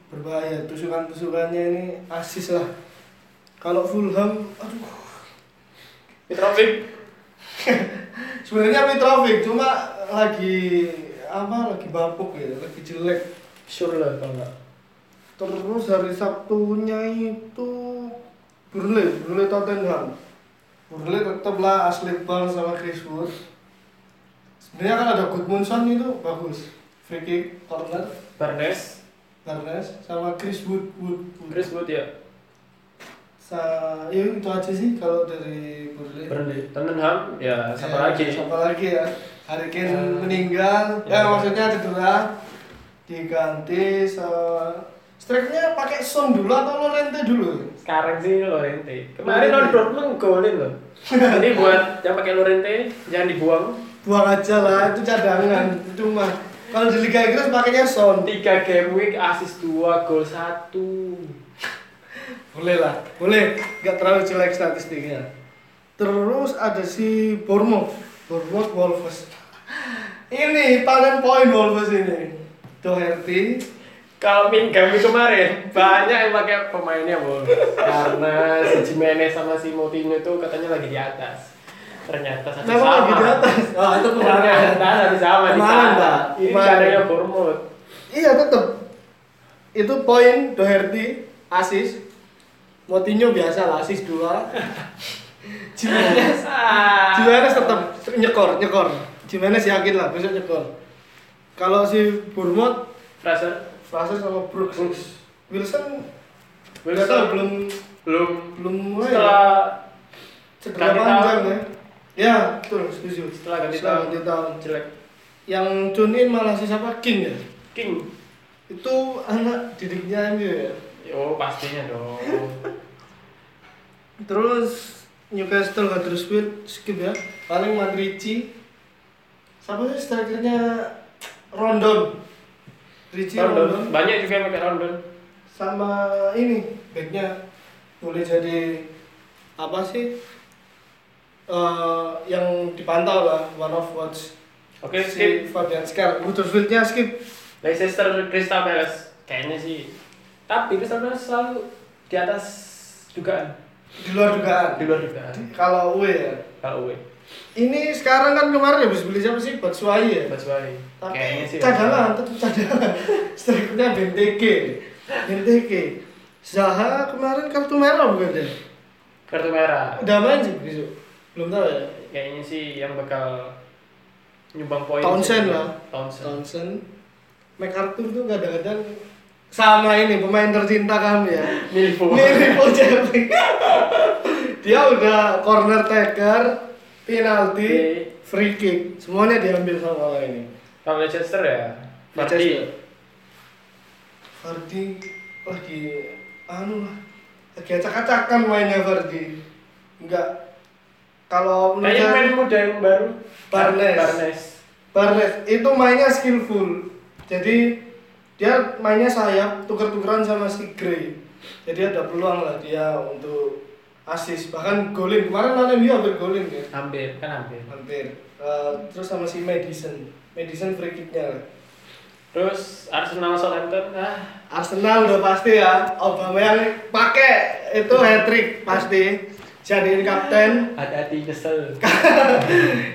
Speaker 2: berbahaya tusukan-tusukannya ini asis lah kalau Fulham aduh
Speaker 3: Mitrovic.
Speaker 2: sebenarnya Mitrovic cuma lagi apa lagi bapuk ya lagi jelek
Speaker 3: Sure lah kalau enggak.
Speaker 2: Terus hari Sabtunya itu Burnley, Burnley Tottenham. Burnley tetaplah Ashley Barnes sama Chris Wood. Sebenarnya kan ada Goodmanson itu bagus. Free kick, corner,
Speaker 3: Barnes.
Speaker 2: Barnes sama Chris Wood, Wood, Wood.
Speaker 3: Chris Wood ya.
Speaker 2: Sa ya itu aja sih kalau dari Burnley.
Speaker 3: Burnley. Tottenham. Ya,
Speaker 2: Ya,
Speaker 3: siapa lagi?
Speaker 2: Siapa lagi ya? Harry Kane
Speaker 3: Ya.
Speaker 2: meninggal. Ya,
Speaker 3: Ya.
Speaker 2: maksudnya cedera. diganti se strike-nya pakai Son dulu atau Lorente dulu?
Speaker 3: Sekarang sih Lorente. Kemarin non Dortmund golin loh. Jadi buat yang pakai Lorente jangan dibuang.
Speaker 2: Buang aja lah, itu cadangan cuma. Kalau di Liga Inggris pakainya Son.
Speaker 3: Tiga game week, assist dua, gol satu.
Speaker 2: Boleh lah, boleh. Gak terlalu jelek statistiknya. Terus ada si Bournemouth, Bournemouth Wolves. Ini panen poin Wolves ini. Doherty,
Speaker 3: Kalau Mingham itu kemarin banyak yang pakai pemainnya Kan, bol. Karena si Jimenez sama si Moutinho itu katanya lagi di atas. Ternyata satu
Speaker 2: Kenapa
Speaker 3: sama.
Speaker 2: lagi di atas? Ah, itu kemarin.
Speaker 3: Ternyata satu sama di
Speaker 2: Kemarin,
Speaker 3: sana.
Speaker 2: Pak.
Speaker 3: Ini
Speaker 2: Kemarin.
Speaker 3: adanya Bournemouth.
Speaker 2: Iya tetep. Itu poin Doherty, asis. Moutinho biasa lah, asis dua. Jimenez, Jimenez tetep nyekor, nyekor. Jimenez yakin lah besok nyekor. Kalau si Bournemouth,
Speaker 3: Fraser.
Speaker 2: Fraser sama Brooks. Wilson, nggak tahu,
Speaker 3: Wilson
Speaker 2: belum
Speaker 3: belum belum
Speaker 2: belum mulai. ya. Cedera
Speaker 3: setelah ganti
Speaker 2: panjang
Speaker 3: tahun.
Speaker 2: ya. Ya, betul, setuju.
Speaker 3: Setelah ganti tahun.
Speaker 2: ganti tahun.
Speaker 3: jelek
Speaker 2: Yang tune in malah si siapa King ya?
Speaker 3: King.
Speaker 2: Itu anak didiknya aja ya.
Speaker 3: Yo pastinya dong.
Speaker 2: Terus Newcastle Huddersfield skip ya. Paling Madrici. Siapa sih strikernya Rondon? Ricci
Speaker 3: Rondon.
Speaker 2: Rondon.
Speaker 3: Banyak juga yang pakai Rondon.
Speaker 2: Sama ini backnya boleh jadi apa sih? Eh, yang dipantau lah one of watch
Speaker 3: Oke,
Speaker 2: si
Speaker 3: skip.
Speaker 2: Fabian Skar Huddersfieldnya skip
Speaker 3: Leicester Crystal Palace kayaknya sih tapi Crystal Palace selalu di atas dugaan
Speaker 2: di luar dugaan
Speaker 3: di luar dugaan
Speaker 2: kalau UE ya
Speaker 3: kalau UE
Speaker 2: ini sekarang kan kemarin habis beli siapa sih Batshuayi ya
Speaker 3: Batshuayi kayaknya
Speaker 2: tapi
Speaker 3: sih
Speaker 2: cadangan tetap cadangan strikernya BNTG BNTG Zaha kemarin kartu merah bukan deh
Speaker 3: kartu merah
Speaker 2: udah main sih besok belum tahu ya
Speaker 3: kayaknya sih yang bakal nyumbang poin
Speaker 2: Townsend
Speaker 3: Oh, sih.
Speaker 2: lah.
Speaker 3: Townsend
Speaker 2: Johnson MacArthur tuh kadang-kadang sama ini pemain tercinta kami ya
Speaker 3: Milivo
Speaker 2: mirip Ojepi dia udah corner taker penalti free kick semuanya diambil sama orang ini
Speaker 3: kalau Leicester ya
Speaker 2: Leicester.
Speaker 3: Berarti
Speaker 2: Vardy lagi anu lah lagi acak-acakan mainnya Vardy enggak kalau menurut
Speaker 3: kayaknya pemain
Speaker 2: saya
Speaker 3: muda yang baru
Speaker 2: Barnes.
Speaker 3: Barnes
Speaker 2: Barnes itu mainnya skillful jadi dia mainnya sayap tuker-tukeran sama si Gray jadi ada peluang lah dia untuk asis bahkan golin kemarin mana dia hampir golin ya
Speaker 3: hampir kan hampir
Speaker 2: hampir Eh, terus sama si Madison Madison free kicknya lah
Speaker 3: terus Arsenal Southampton ah
Speaker 2: Arsenal udah pasti ya. Aubameyang pakai itu hat trick pasti. Jadiin kapten.
Speaker 3: hati-hati nyesel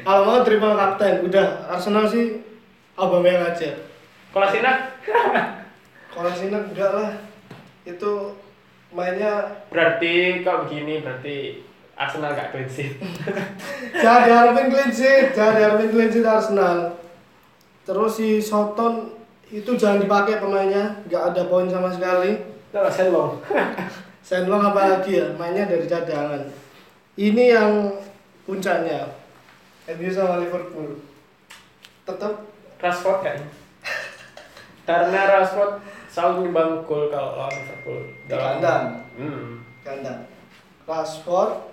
Speaker 2: Kalau mau triple kapten, udah Arsenal sih Aubameyang aja.
Speaker 3: Kolasinac
Speaker 2: Kolasinac enggak lah. Itu mainnya
Speaker 3: berarti kalau begini berarti Arsenal gak clean sheet
Speaker 2: jangan diharapin clean sheet, jangan diharapin clean sheet Arsenal. Terus si Soton itu jangan dipakai pemainnya, nggak ada poin sama sekali.
Speaker 3: Nah, Senlong
Speaker 2: Senlong apalagi ya, mainnya dari cadangan. Ini yang puncaknya. MU sama Liverpool. Tetap
Speaker 3: Rashford kan karena Rashford selalu nyumbang gol kalau lawan Liverpool
Speaker 2: Di kandang.
Speaker 3: hmm.
Speaker 2: ganda. Rashford,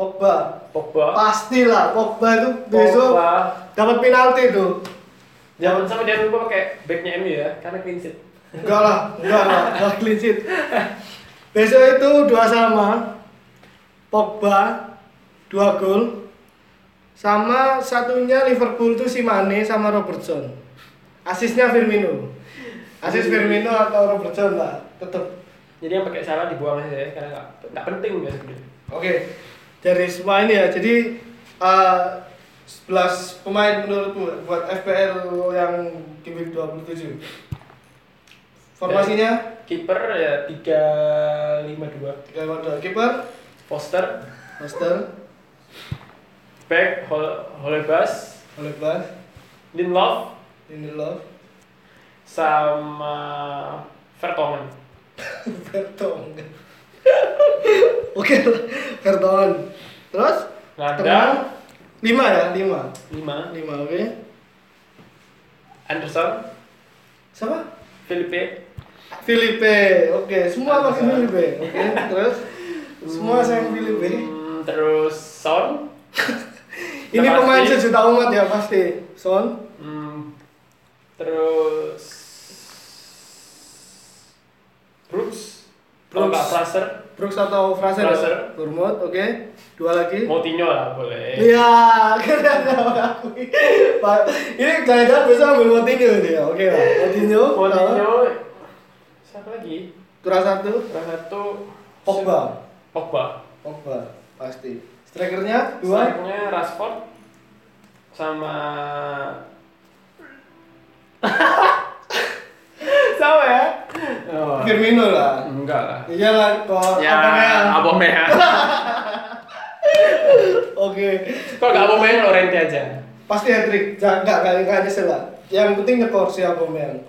Speaker 2: Pogba.
Speaker 3: Pogba
Speaker 2: Pastilah Pogba itu besok
Speaker 3: Pogba
Speaker 2: dapat penalti itu.
Speaker 3: jangan sampai jangan lupa pakai backnya MU ya karena clean sheet
Speaker 2: Enggak lah, enggak lah, enggak clean sheet. Besok itu dua sama. Pogba dua gol sama satunya Liverpool tuh si Mane sama Robertson. Asisnya Firmino. Asis Firmino atau Robertson lah, tetap.
Speaker 3: jadi yang pakai salah dibuang aja ya karena gak, gak penting ya sebenarnya
Speaker 2: Oke. Dari semua ini ya, jadi eh, 11 pemain menurutmu buat FPL yang di week 27. Formasinya
Speaker 3: kiper ya tiga lima dua
Speaker 2: tiga lawan dua kiper,
Speaker 3: Foster
Speaker 2: Master,
Speaker 3: back Hol Holebas
Speaker 2: Olegbas,
Speaker 3: Lindelof
Speaker 2: Lindelof,
Speaker 3: sama Vertonghen
Speaker 2: Vertong. Oke, lah, Vertonghen. Terus
Speaker 3: Landa.
Speaker 2: tengah lima ya, lima.
Speaker 3: lima
Speaker 2: Lima oke.
Speaker 3: Anderson
Speaker 2: siapa
Speaker 4: Felipe
Speaker 2: Filipe oke semua pakai
Speaker 4: Apa?
Speaker 2: Filipe oke terus semua sayang Filipe
Speaker 4: Hmm, terus Son
Speaker 2: ini pemain
Speaker 4: Pasti.
Speaker 2: sejuta umat ya pasti Son
Speaker 4: Hmm, terus Brooks
Speaker 2: Brooks.
Speaker 4: kalau nggak Fraser
Speaker 2: Brooks atau Fraser ya?
Speaker 4: Fraser.
Speaker 2: Bournemouth, oke dua lagi
Speaker 4: Moutinho lah boleh
Speaker 2: Iya, keren aku. Pak, ini jangan-jangan besok ambil Moutinho ini ya. Oke, Pak. Moutinho.
Speaker 4: Moutinho siapa lagi
Speaker 2: Kurang satu.
Speaker 4: salah satu
Speaker 2: Pogba.
Speaker 4: Pogba
Speaker 2: Pogba pasti. Strikernya dua.
Speaker 4: Strikernya Rashford sama sama ya oh.
Speaker 2: Firmino lah.
Speaker 4: enggak lah
Speaker 2: Iya lah, kok
Speaker 4: ya
Speaker 2: Aubameyang.
Speaker 4: Aubameyang
Speaker 2: Oke.
Speaker 4: kalau nggak Aubameyang Lorente aja
Speaker 2: Pasti hat trick. Jangan enggak kali enggak nyesel lah. Yang penting ngekor si Aubameyang.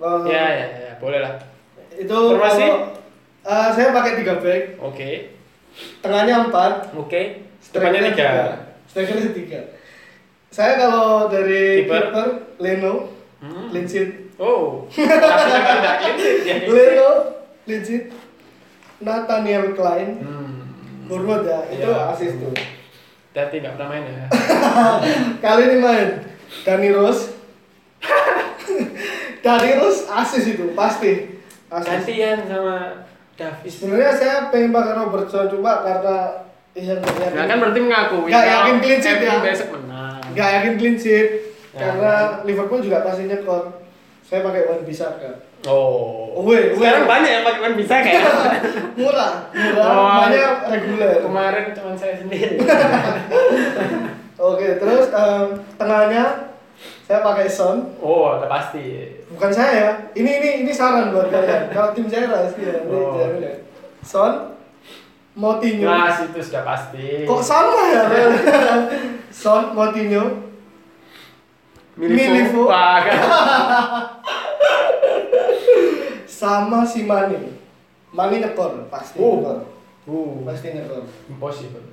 Speaker 2: Kalau-
Speaker 4: ya ya ya boleh lah
Speaker 2: Itu
Speaker 4: Formasi?
Speaker 2: kalau- Eh, saya pakai tiga back,
Speaker 4: oke
Speaker 2: tengahnya empat,
Speaker 4: oke depannya tiga
Speaker 2: Strikernya tiga. Saya kalau dari
Speaker 4: Kiper?
Speaker 2: kiper Leno,
Speaker 4: Hmm.
Speaker 2: clean sheet.
Speaker 4: oh Arsenal kan nggak clean sheet, ya.
Speaker 2: Leno, clean sheet. Nathaniel Klein,
Speaker 4: Hmm.
Speaker 2: Bournemouth ya, itu
Speaker 4: Iya.
Speaker 2: asis tuh.
Speaker 4: Tapi nggak pernah main ya
Speaker 2: Kali ini main Dani Rose. Dani Rose asis itu pasti. Asis.
Speaker 4: gantian sama Davis
Speaker 2: Sebenarnya saya pengen pakai Robertson cuma karena iya nggak yakin.
Speaker 4: Nah kan berarti mengakui
Speaker 2: Nggak
Speaker 4: kalau
Speaker 2: yakin clean sheet
Speaker 4: MU
Speaker 2: ya.
Speaker 4: besok menang.
Speaker 2: Nggak yakin clean sheet
Speaker 4: Ya.
Speaker 2: karena Liverpool juga pasti nyekor. Saya pakai Wan Bisaka.
Speaker 4: Oh.
Speaker 2: Weh, weh.
Speaker 4: Sekarang banyak yang pakai bisa kayak.
Speaker 2: murah murah
Speaker 4: Oh.
Speaker 2: banyak reguler
Speaker 4: Kemarin cuma saya sendiri.
Speaker 2: oke terus em, tengahnya saya pakai Son
Speaker 4: oh, udah pasti.
Speaker 2: bukan saya ya. ini ini ini saran buat kalian kalau tim saya rahasia ya ini
Speaker 4: Oh.
Speaker 2: jangan ya. Son Moutinho
Speaker 4: Mas itu sudah pasti.
Speaker 2: kok sama ya Son Moutinho Milivo.
Speaker 4: Wah, kan.
Speaker 2: sama si Mane Mane nyekor pasti
Speaker 4: Oh.
Speaker 2: nyekor
Speaker 4: Uh,
Speaker 2: pasti nyekor
Speaker 4: impossible.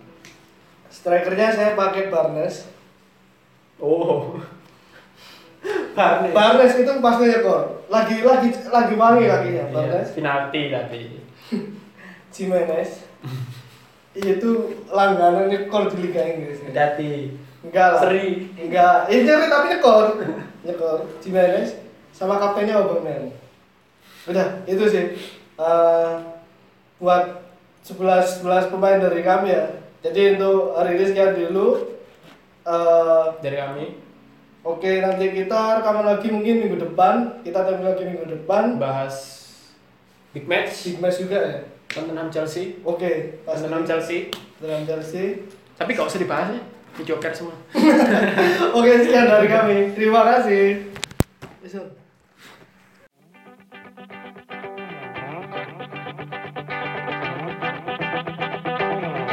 Speaker 2: strikernya saya pakai Barnes
Speaker 4: Oh. Barnes.
Speaker 2: Barnes itu pasti nyekor lagi lagi lagi wangi kakinya
Speaker 4: Iya,
Speaker 2: Barnes
Speaker 4: Penalti tapi.
Speaker 2: Jimenez itu langganan nyekor di Liga Inggris ya?
Speaker 4: Dati.
Speaker 2: enggak lah
Speaker 4: Seri.
Speaker 2: enggak ini seri tapi nyekor nyekor Jimenez sama kaptennya Aubameyang udah itu sih Eh, buat 11 11 pemain dari kami ya jadi untuk hari ini sekian dulu Eh,
Speaker 4: Dari kami.
Speaker 2: oke nanti kita rekaman lagi mungkin minggu depan kita tampil lagi minggu depan
Speaker 4: Bahas big match.
Speaker 2: Sigmas juga ya
Speaker 4: Tottenham Chelsea.
Speaker 2: oke pas
Speaker 4: Tottenham Chelsea.
Speaker 2: dalam Chelsea
Speaker 4: Tapi gak usah dibahas ya. Video card semua.
Speaker 2: Oke, sekian dari kami. Terima kasih. Besok.